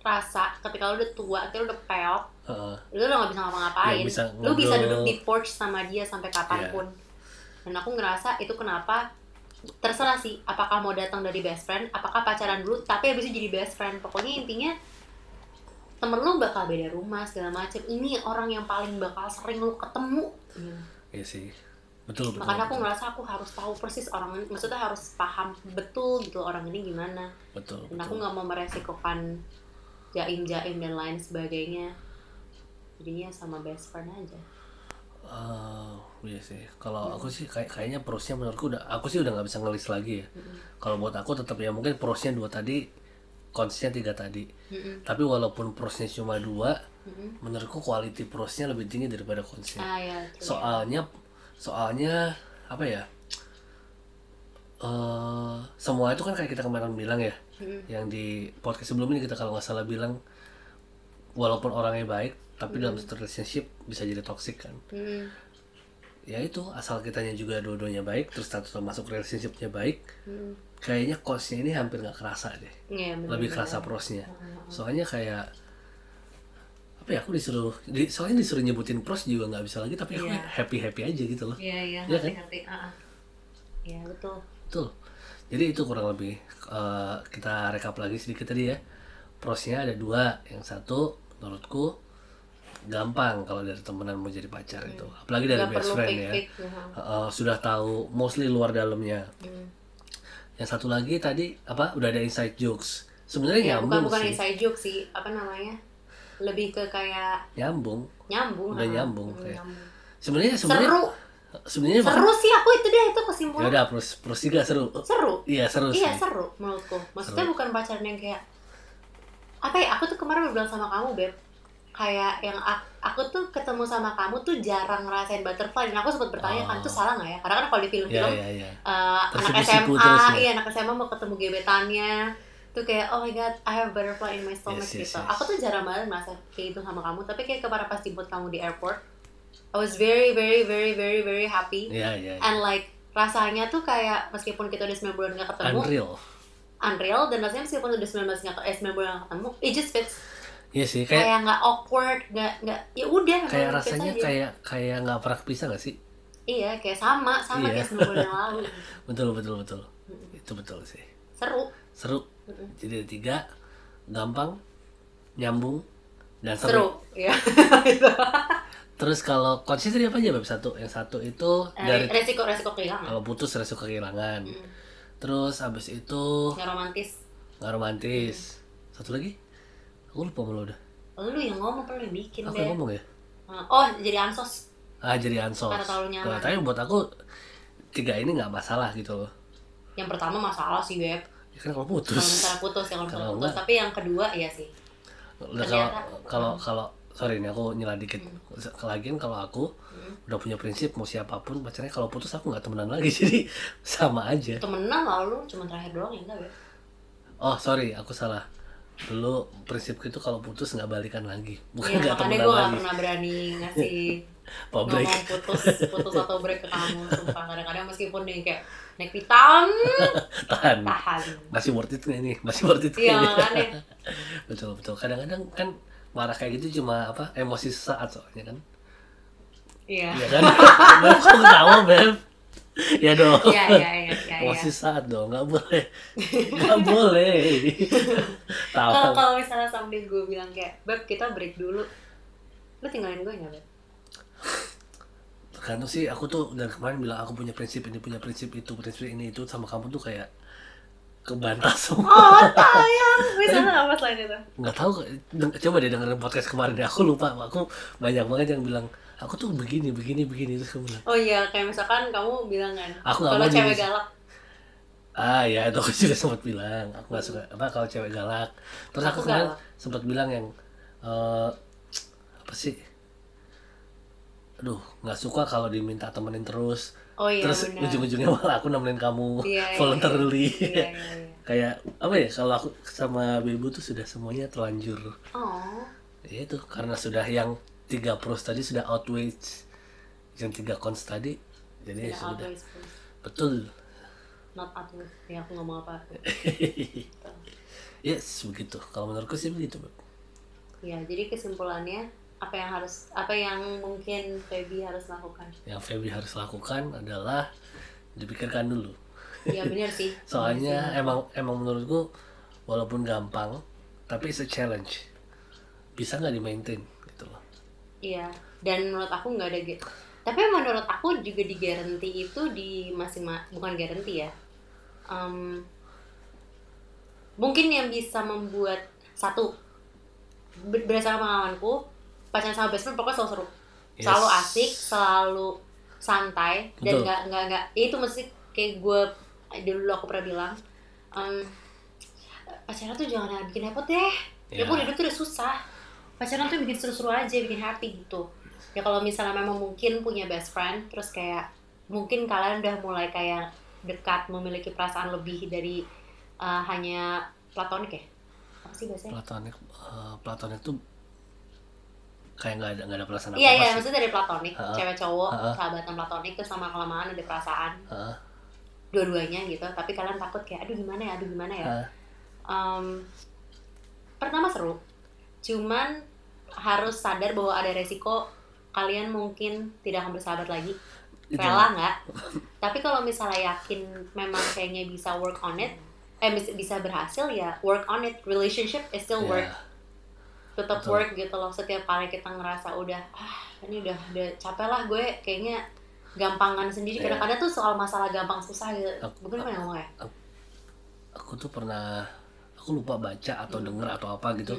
Speaker 2: rasa ketika lo udah tua, ketika lo udah peok,
Speaker 1: Heeh.
Speaker 2: lu lo gak bisa ngapa-ngapain
Speaker 1: Yang bisa
Speaker 2: lu
Speaker 1: ngobrol.
Speaker 2: bisa
Speaker 1: Iya.
Speaker 2: duduk di porch sama dia sampai kapanpun dan aku ngerasa itu kenapa terserah sih apakah mau datang dari best friend apakah pacaran dulu tapi habis itu jadi best friend pokoknya intinya temen lu bakal beda rumah segala macem ini orang yang paling bakal sering lu ketemu Gitu.
Speaker 1: iya sih betul betul,
Speaker 2: makanya aku
Speaker 1: betul.
Speaker 2: ngerasa aku harus tahu persis orang ini maksudnya harus paham betul gitu orang ini gimana
Speaker 1: betul
Speaker 2: dan
Speaker 1: betul.
Speaker 2: aku nggak mau meresikokan jaim-jaim dan lain sebagainya jadinya sama best friend aja
Speaker 1: Eh, iya sih. Kalau aku sih kayak kayaknya prosnya menurutku udah aku sih udah nggak bisa ngelis lagi ya. Kalau buat aku tetap ya mungkin prosnya dua tadi, konsnya tiga tadi.
Speaker 2: Mm-mm.
Speaker 1: Tapi walaupun prosnya cuma dua,
Speaker 2: Mm-mm.
Speaker 1: menurutku quality prosnya lebih tinggi daripada konsnya.
Speaker 2: ah ya true.
Speaker 1: Soalnya soalnya apa ya? eh semua itu kan kayak kita kemarin bilang ya,
Speaker 2: Mm-mm.
Speaker 1: yang di podcast sebelumnya kita kalau nggak salah bilang walaupun orangnya baik, tapi dalam satu relationship bisa jadi toxic kan.
Speaker 2: Mm-mm.
Speaker 1: ya itu asal kitanya juga dua-duanya baik terus status lo masuk relationshipnya baik
Speaker 2: Mm-mm.
Speaker 1: kayaknya costnya ini hampir nggak kerasa deh
Speaker 2: Iya, bener-bener.
Speaker 1: lebih kerasa prosnya soalnya kayak apa ya aku disuruh di, soalnya disuruh nyebutin pros juga nggak bisa lagi tapi aku
Speaker 2: Iya.
Speaker 1: happy happy aja gitu loh
Speaker 2: iya iya
Speaker 1: Iya kan?
Speaker 2: ngerti Ah, ah. iya betul
Speaker 1: betul jadi itu kurang lebih eh, kita rekap lagi sedikit tadi ya prosnya ada dua yang satu menurutku gampang kalau dari temenan mau jadi pacar itu apalagi dari
Speaker 2: Hmm. Nggak
Speaker 1: best
Speaker 2: perlu
Speaker 1: friend ya
Speaker 2: fake fake ya.
Speaker 1: Uh, sudah tahu mostly luar dalamnya.
Speaker 2: Iya,
Speaker 1: Yang satu lagi tadi apa udah ada inside jokes. Sebenarnya
Speaker 2: Ya, bukan
Speaker 1: nyambung
Speaker 2: bukan
Speaker 1: sih.
Speaker 2: inside joke sih apa namanya lebih ke kayak
Speaker 1: Nyambung.
Speaker 2: nyambung
Speaker 1: Udah
Speaker 2: ah.
Speaker 1: nyambung,
Speaker 2: Mm,
Speaker 1: kayak.
Speaker 2: nyambung.
Speaker 1: Sebenarnya sebenarnya
Speaker 2: seru
Speaker 1: sebenarnya
Speaker 2: seru sih aku itu deh itu
Speaker 1: ya
Speaker 2: kesimpulan
Speaker 1: udah pros pros tiga seru.
Speaker 2: seru
Speaker 1: Iya seru
Speaker 2: iya
Speaker 1: sih.
Speaker 2: seru menurutku maksudnya bukan pacaran yang kayak apa ya aku tuh kemarin bilang sama kamu beb kayak yang ak- aku, tuh ketemu sama kamu tuh jarang ngerasain butterfly dan aku sempat bertanya
Speaker 1: Oh.
Speaker 2: kan itu salah nggak ya karena kan kalau di
Speaker 1: Iya
Speaker 2: film-film
Speaker 1: iya iya.
Speaker 2: eh, anak
Speaker 1: Tersipu-sipu
Speaker 2: SMA
Speaker 1: terus ya.
Speaker 2: iya anak SMA mau ketemu gebetannya tuh kayak oh my god I have butterfly in my stomach
Speaker 1: Yes, yes,
Speaker 2: gitu
Speaker 1: yes.
Speaker 2: aku tuh jarang banget merasa kayak itu sama kamu tapi kayak kemarin pas jemput kamu di airport I was very very very very very happy
Speaker 1: Iya iya. iya.
Speaker 2: and like rasanya tuh kayak meskipun kita udah 9 bulan gak ketemu
Speaker 1: Unreal.
Speaker 2: unreal dan rasanya meskipun udah 19 nggak eh, 19 bulan nggak ketemu it just fits
Speaker 1: Iya sih kayak
Speaker 2: kayak nggak awkward nggak nggak ya udah memang
Speaker 1: kayak
Speaker 2: fits
Speaker 1: rasanya
Speaker 2: aja.
Speaker 1: kayak kayak nggak pernah pisah nggak sih?
Speaker 2: iya kayak sama
Speaker 1: Iya.
Speaker 2: sama kayak 9 bulan yang
Speaker 1: (laughs)
Speaker 2: lalu
Speaker 1: Betul betul betul. Itu betul sih.
Speaker 2: seru
Speaker 1: Seru. Jadi ada tiga gampang nyambung dan
Speaker 2: seru
Speaker 1: seru.
Speaker 2: ya
Speaker 1: Terus kalau konsisten tadi apa aja bab satu? Yang satu itu dari Oh.
Speaker 2: resiko resiko Eh, kehilangan
Speaker 1: kalau putus resiko kehilangan
Speaker 2: Hmm.
Speaker 1: terus abis itu
Speaker 2: nggak romantis
Speaker 1: nggak romantis satu lagi aku lupa malu udah
Speaker 2: lu yang ngomong perlu yang bikin
Speaker 1: aku yang
Speaker 2: deh
Speaker 1: ngomong ya
Speaker 2: oh jadi ansos
Speaker 1: ah jadi ansos
Speaker 2: Karena terlalu nyaman.
Speaker 1: Nah, tapi buat aku tiga ini nggak masalah gitu loh
Speaker 2: yang pertama masalah sih beb
Speaker 1: ya kan kalau
Speaker 2: kalau
Speaker 1: putus (laughs)
Speaker 2: misalnya putus ya kalau misalnya
Speaker 1: Kalau
Speaker 2: putus
Speaker 1: nggak-
Speaker 2: tapi yang kedua ya sih
Speaker 1: Nah, kalau
Speaker 2: ternyata- Hmm.
Speaker 1: kalau kalau sorry ini aku nyela dikit lagian kalau aku udah punya prinsip mau siapapun pacarnya kalau putus aku nggak temenan lagi (laughs) jadi sama aja
Speaker 2: temenan lalu cuma terakhir doang ya enggak beb
Speaker 1: oh sorry aku salah dulu prinsipku itu kalau putus nggak balikan lagi bukan
Speaker 2: Iya,
Speaker 1: nggak
Speaker 2: makanya
Speaker 1: temenan
Speaker 2: gue gak
Speaker 1: lagi
Speaker 2: pernah berani
Speaker 1: (laughs)
Speaker 2: ngasih
Speaker 1: pabrik
Speaker 2: ngomong putus putus atau break ke kamu sumpah kadang-kadang meskipun nih kayak naik pitam
Speaker 1: (laughs) tahan
Speaker 2: tahan
Speaker 1: masih worth it nggak ini masih worth it
Speaker 2: iya
Speaker 1: nggak ini? (laughs)
Speaker 2: makanya
Speaker 1: betul betul kadang-kadang kan marah kayak gitu cuma apa emosi sesaat soalnya kan (laughs)
Speaker 2: iya
Speaker 1: iya kan beb kok ketawa beb ya dong
Speaker 2: Iya, iya, iya, iya, iya.
Speaker 1: masih saat dong nggak boleh nggak boleh tahu
Speaker 2: Kalau kalau misalnya sampai gue bilang kayak, Beb kita break dulu, lu tinggalin gue
Speaker 1: (laughs)
Speaker 2: nggak Beb?
Speaker 1: karena sih aku tuh dari kemarin bilang aku punya prinsip ini punya prinsip itu prinsip ini itu sama kamu tuh kayak kebantah semua
Speaker 2: Oh sayang, misalnya apa selain itu?
Speaker 1: nggak tahu deng- coba deh dengerin podcast kemarin deh aku lupa aku banyak banget yang bilang aku tuh begini begini begini terus aku bilang
Speaker 2: Oh iya, kayak misalkan kamu bilang kan,
Speaker 1: Aku nggak
Speaker 2: kalau
Speaker 1: mau
Speaker 2: cewek
Speaker 1: jadi-
Speaker 2: galak,
Speaker 1: ah ya itu aku (laughs) juga sempat bilang aku nggak suka apa kalau cewek galak terus aku,
Speaker 2: Aku
Speaker 1: kemarin
Speaker 2: galak.
Speaker 1: sempat bilang yang eh, apa sih aduh nggak suka kalau diminta temenin terus
Speaker 2: oh iya
Speaker 1: terus
Speaker 2: benar.
Speaker 1: ujung-ujungnya malah aku nemenin kamu
Speaker 2: Iya, iya,
Speaker 1: voluntarily
Speaker 2: Iya, iya, iya.
Speaker 1: (laughs) kayak apa ya kalau aku sama Bebu tuh sudah semuanya terlanjur
Speaker 2: Oh,
Speaker 1: ya itu karena sudah yang tiga pros tadi sudah outweigh yang tiga cons tadi jadi ya
Speaker 2: tidak
Speaker 1: sudah
Speaker 2: always please.
Speaker 1: betul
Speaker 2: not always. Ya aku nggak mau apa.
Speaker 1: (laughs) yes begitu kalau menurutku sih begitu Beb.
Speaker 2: Ya, jadi kesimpulannya apa yang harus apa yang mungkin Feby harus lakukan?
Speaker 1: yang Febri harus lakukan adalah dipikirkan dulu
Speaker 2: Ya benar sih. Oh,
Speaker 1: soalnya emang emang menurutku walaupun gampang tapi it's a challenge bisa nggak di maintain gitu loh
Speaker 2: Iya. Dan menurut aku nggak ada. ge- Tapi menurut aku juga di guarantee itu di masing bukan guarantee ya. Em, mungkin yang bisa membuat satu ber- berdasarkan pengalamanku pacaran sama best friend pokoknya selalu seru,
Speaker 1: Yes.
Speaker 2: selalu asik, selalu santai dan
Speaker 1: Betul.
Speaker 2: nggak nggak nggak ya itu mesti kayak gue dulu aku pernah bilang em, pacaran tuh jangan bikin repot deh. Ya,
Speaker 1: Ya.
Speaker 2: gue hidup tuh udah susah. Pacaran tuh bikin seru-seru aja, bikin happy gitu. Ya kalau misalnya memang mungkin punya best friend, terus kayak mungkin kalian udah mulai kayak dekat, memiliki perasaan lebih dari eh, hanya platonik ya? Apa sih biasanya?
Speaker 1: platonik eh, platonik tuh kayak nggak ada nggak ada perasaan apa
Speaker 2: Iya, iya,
Speaker 1: sih
Speaker 2: maksudnya dari platonik,
Speaker 1: Ha-ha.
Speaker 2: cewek cowok,
Speaker 1: Ha-ha.
Speaker 2: sahabatan platonik, terus sama kelamaan ada perasaan
Speaker 1: Heeh,
Speaker 2: dua-duanya gitu, tapi kalian takut kayak, aduh gimana ya, aduh gimana ya.
Speaker 1: heeh.
Speaker 2: Em, pertama seru cuman harus sadar bahwa ada resiko kalian mungkin tidak akan bersahabat lagi
Speaker 1: Itu.
Speaker 2: rela nggak tapi kalau misalnya yakin memang kayaknya bisa work on it eh bis- bisa berhasil ya work on it relationship is still
Speaker 1: Ya.
Speaker 2: work tetap
Speaker 1: Betul.
Speaker 2: work gitu loh setiap kali kita ngerasa udah ah ini udah udah capek lah gue kayaknya gampangan sendiri
Speaker 1: Iya.
Speaker 2: kadang-kadang tuh soal masalah gampang susah gitu
Speaker 1: Ap-
Speaker 2: bukan apa yang ngomong ya
Speaker 1: aku tuh pernah aku lupa baca atau denger atau apa gitu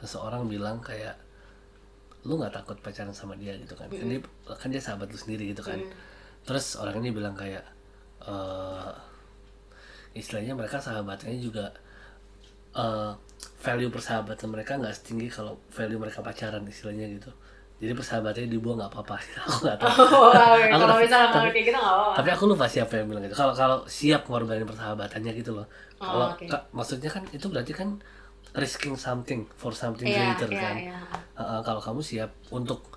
Speaker 1: seseorang bilang kayak lu nggak takut pacaran sama dia gitu kan kan dia kan dia sahabat lu sendiri gitu kan terus orang ini bilang kayak eh istilahnya mereka sahabatnya juga eh value persahabatan mereka nggak setinggi kalau value mereka pacaran istilahnya gitu jadi persahabatannya dibuang nggak apa-apa (laughs) (laughs) aku nggak tahu
Speaker 2: oh,
Speaker 1: Aku
Speaker 2: kalau
Speaker 1: tapi-
Speaker 2: misalnya
Speaker 1: tapi-
Speaker 2: ngomong kayak gitu nggak apa-apa
Speaker 1: tapi aku lupa siapa yang bilang gitu kalau kalau siap ngorbanin persahabatannya gitu loh
Speaker 2: Oh,
Speaker 1: kalau
Speaker 2: oke.
Speaker 1: ka- maksudnya kan itu berarti kan risking something for something greater kan
Speaker 2: iya.
Speaker 1: Uh, kalau kamu siap untuk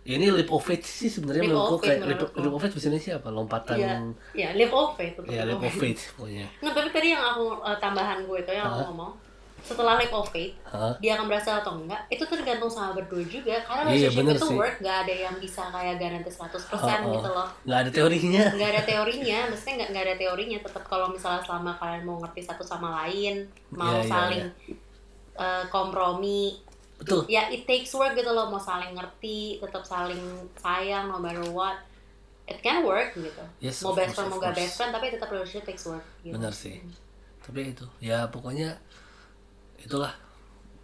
Speaker 1: ya ini leap of faith sih sebenarnya
Speaker 2: Leap
Speaker 1: menurutku
Speaker 2: of faith
Speaker 1: kayak leap,
Speaker 2: menurutku.
Speaker 1: leap of faith biasanya siapa lompatan
Speaker 2: Iya, iya, leap of faith. tetap
Speaker 1: ya leap
Speaker 2: leap
Speaker 1: of
Speaker 2: of
Speaker 1: faith pokoknya
Speaker 2: Nah, tapi tadi yang aku eh, tambahan gue itu yang aku ngomong, setelah leap of faith,
Speaker 1: Hah?
Speaker 2: dia akan berhasil atau enggak, itu tergantung sama berdua juga. Karena
Speaker 1: Iya,
Speaker 2: relationship
Speaker 1: bener
Speaker 2: itu
Speaker 1: sih.
Speaker 2: work, gak ada yang bisa kayak garansi 100%
Speaker 1: Oh, oh.
Speaker 2: gitu loh.
Speaker 1: nggak ada teorinya
Speaker 2: Gak ada teorinya, maksudnya gak, ada teorinya. Tetap kalau misalnya selama kalian mau ngerti satu sama lain,
Speaker 1: Iya,
Speaker 2: mau
Speaker 1: iya,
Speaker 2: saling eh, kompromi,
Speaker 1: betul
Speaker 2: ya it takes work gitu loh mau saling ngerti tetap saling sayang no matter what it can work gitu
Speaker 1: Yes,
Speaker 2: mau
Speaker 1: of
Speaker 2: best
Speaker 1: course,
Speaker 2: friend mau
Speaker 1: of
Speaker 2: gak
Speaker 1: course.
Speaker 2: best friend tapi tetap relationship takes work gitu.
Speaker 1: benar sih tapi itu ya pokoknya itulah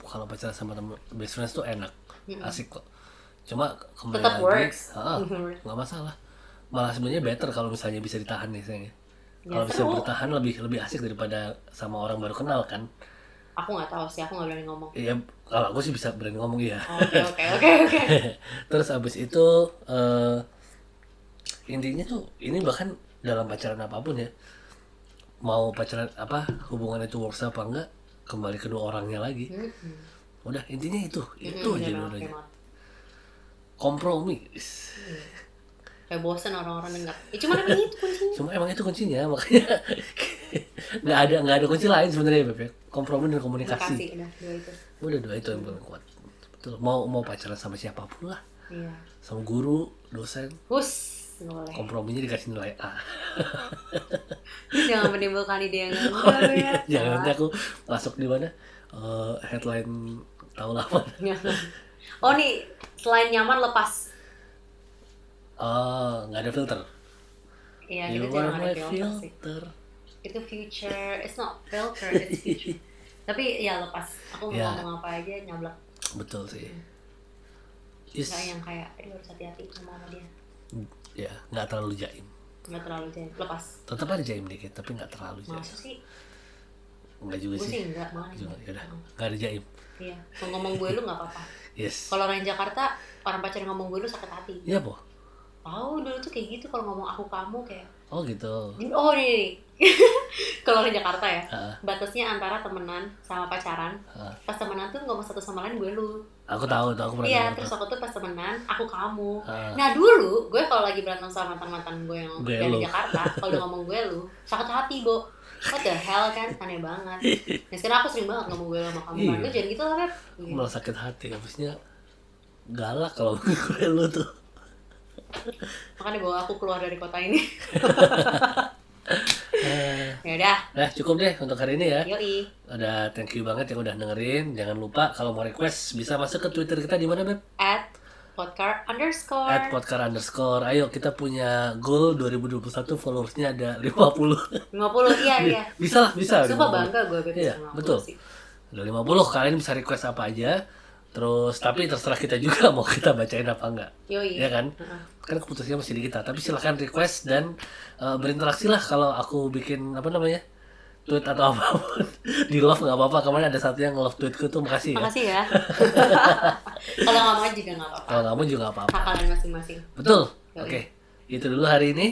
Speaker 1: kalau pacaran sama temen best friends tuh enak asik kok cuma kembali
Speaker 2: Tetap
Speaker 1: lagi
Speaker 2: works. Mm-hmm.
Speaker 1: ah, nggak masalah malah sebenarnya better kalau misalnya bisa ditahan nih sayangnya
Speaker 2: Ya,
Speaker 1: kalau bisa
Speaker 2: seru.
Speaker 1: bertahan lebih lebih asik daripada sama orang baru kenal kan
Speaker 2: aku nggak tahu sih aku nggak berani
Speaker 1: (laughs)
Speaker 2: ngomong
Speaker 1: ya kalau aku sih bisa berani ngomong iya
Speaker 2: oke oke oke oke
Speaker 1: (laughs) Terus abis itu eh, intinya tuh ini bahkan dalam pacaran apapun ya mau pacaran apa hubungan itu works apa enggak kembali kedua orangnya lagi
Speaker 2: Mm-mm.
Speaker 1: udah intinya itu itu
Speaker 2: Mm-mm,
Speaker 1: aja
Speaker 2: bener banget,
Speaker 1: dua-duanya.
Speaker 2: bener banget.
Speaker 1: kompromi
Speaker 2: kayak bosen orang-orang dengar ya cuma emang itu
Speaker 1: (laughs)
Speaker 2: kuncinya
Speaker 1: cuma emang itu kuncinya makanya nggak ada nggak ada kunci lain sebenarnya Beb ya. kompromi dan komunikasi
Speaker 2: kasih udah dua itu
Speaker 1: udah dua itu yang paling kuat betul mau mau pacaran sama siapapun lah
Speaker 2: iya
Speaker 1: sama guru dosen
Speaker 2: hus nggak boleh
Speaker 1: komprominya dikasih nilai A
Speaker 2: (laughs) jangan menimbulkan ide yang
Speaker 1: (laughs) Oh,
Speaker 2: enggak
Speaker 1: iya.
Speaker 2: ya
Speaker 1: jangan nanti aku masuk di mana eh, headline tahu lama
Speaker 2: Nyaman. (laughs) oh nih selain nyaman lepas
Speaker 1: oh nggak ada filter
Speaker 2: Iya,
Speaker 1: you
Speaker 2: itu
Speaker 1: are
Speaker 2: jangan
Speaker 1: my
Speaker 2: ada filter sih.
Speaker 1: filter
Speaker 2: Itu future, it's not filter,
Speaker 1: (laughs)
Speaker 2: it's future. Tapi ya lepas, aku mau
Speaker 1: Ya.
Speaker 2: ngomong apa aja nyablak.
Speaker 1: betul sih
Speaker 2: Yes.
Speaker 1: Yes.
Speaker 2: yang kayak, aduh harus hati-hati ngomong sama dia.
Speaker 1: ya nggak terlalu jaim
Speaker 2: Nggak terlalu jahat, lepas.
Speaker 1: tetap ada jaim dikit tapi nggak terlalu jaim
Speaker 2: Masa sih?
Speaker 1: nggak juga
Speaker 2: Gue
Speaker 1: sih
Speaker 2: sih enggak, malah
Speaker 1: juga
Speaker 2: enggak.
Speaker 1: ya udah nggak ada jaim
Speaker 2: Iya, kalau ngomong gue lu nggak apa-apa.
Speaker 1: yes
Speaker 2: Kalau orang Jakarta, orang pacar ngomong gue lu sakit hati.
Speaker 1: iya po
Speaker 2: Tahu dulu tuh kayak gitu kalau ngomong aku kamu kayak,
Speaker 1: oh gitu
Speaker 2: oh nih, nih, nih. (laughs) kalau orang Jakarta ya,
Speaker 1: Ah,
Speaker 2: batasnya antara temenan sama pacaran.
Speaker 1: ah.
Speaker 2: Pas temenan tuh ngomong satu sama lain gue lu.
Speaker 1: aku tahu tuh aku pernah
Speaker 2: Iya,
Speaker 1: dengar
Speaker 2: terus
Speaker 1: tuh.
Speaker 2: aku tuh pas temenan, aku kamu.
Speaker 1: Ah,
Speaker 2: Nah dulu, gue kalau lagi berantem sama mantan-mantan gue yang
Speaker 1: Gue
Speaker 2: dari
Speaker 1: lu.
Speaker 2: Jakarta, kalau udah ngomong gue lu, sakit hati, Bo. What the hell kan, aneh
Speaker 1: (laughs)
Speaker 2: banget. Nah sekarang aku sering banget ngomong gue lu sama kamu, kan.
Speaker 1: Iya.
Speaker 2: Lu jangan gitu lah, Beb.
Speaker 1: aku
Speaker 2: Gitu.
Speaker 1: malah sakit hati habisnya galak kalau (laughs) gue lu tuh
Speaker 2: Makanya bawa aku keluar dari kota ini. (laughs)
Speaker 1: Eh,
Speaker 2: ya udah,
Speaker 1: nah cukup deh untuk hari ini ya
Speaker 2: yoi.
Speaker 1: Udah thank you banget yang udah dengerin. Jangan lupa kalau mau request bisa masuk ke Twitter kita di mana Beb?
Speaker 2: At
Speaker 1: At
Speaker 2: podcast underscore
Speaker 1: podcar underscore. Ayo kita punya goal 2021 followersnya ada 50.
Speaker 2: 50, iya, iya.
Speaker 1: (laughs) bisa lah, bisa.
Speaker 2: Sumpah
Speaker 1: 50.
Speaker 2: bangga gue, Beb.
Speaker 1: Iya,
Speaker 2: sama aku
Speaker 1: betul.
Speaker 2: sih.
Speaker 1: Udah 50 kalian bisa request apa aja. Terus tapi terserah kita juga (laughs) mau kita bacain apa enggak.
Speaker 2: Yoi.
Speaker 1: Iya kan?
Speaker 2: Heeh.
Speaker 1: Kan keputusannya masih di kita. Tapi silahkan request dan eh, berinteraksi lah kalau aku bikin apa namanya? tweet atau (laughs) apapun di love nggak apa-apa kemarin ada satu yang love tweetku tuh makasih ya
Speaker 2: Makasih
Speaker 1: (laughs)
Speaker 2: ya. kalau nggak mau juga nggak apa-apa.
Speaker 1: kalau nggak mau juga nggak apa-apa
Speaker 2: Hak kalian masing-masing.
Speaker 1: Betul.
Speaker 2: Yoi.
Speaker 1: Oke. Itu dulu hari ini.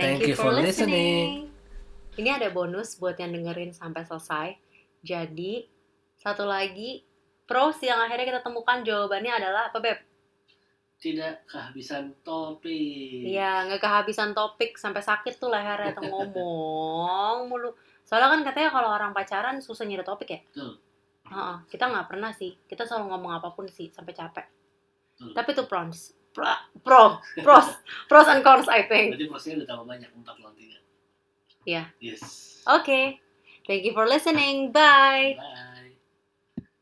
Speaker 1: Thank, you for listening.
Speaker 2: listening. Ini ada bonus buat yang dengerin sampai selesai. Jadi, satu lagi pros yang akhirnya kita temukan jawabannya adalah apa, Beb?
Speaker 1: Tidak kehabisan topik.
Speaker 2: Iya, nggak kehabisan topik sampai sakit tuh lehernya tuh ngomong mulu. Soalnya kan katanya kalau orang pacaran susah nyari topik ya.
Speaker 1: Betul.
Speaker 2: Heeh, kita nggak pernah sih. Kita selalu ngomong apapun sih sampai capek.
Speaker 1: Betul.
Speaker 2: Tapi itu pros. Pro, pro, pros,
Speaker 1: (laughs)
Speaker 2: pros and cons I think.
Speaker 1: Berarti prosesnya udah tambah banyak empat lawan tiga.
Speaker 2: Iya.
Speaker 1: Yes.
Speaker 2: Okay. Thank you for listening. Bye.
Speaker 1: Bye.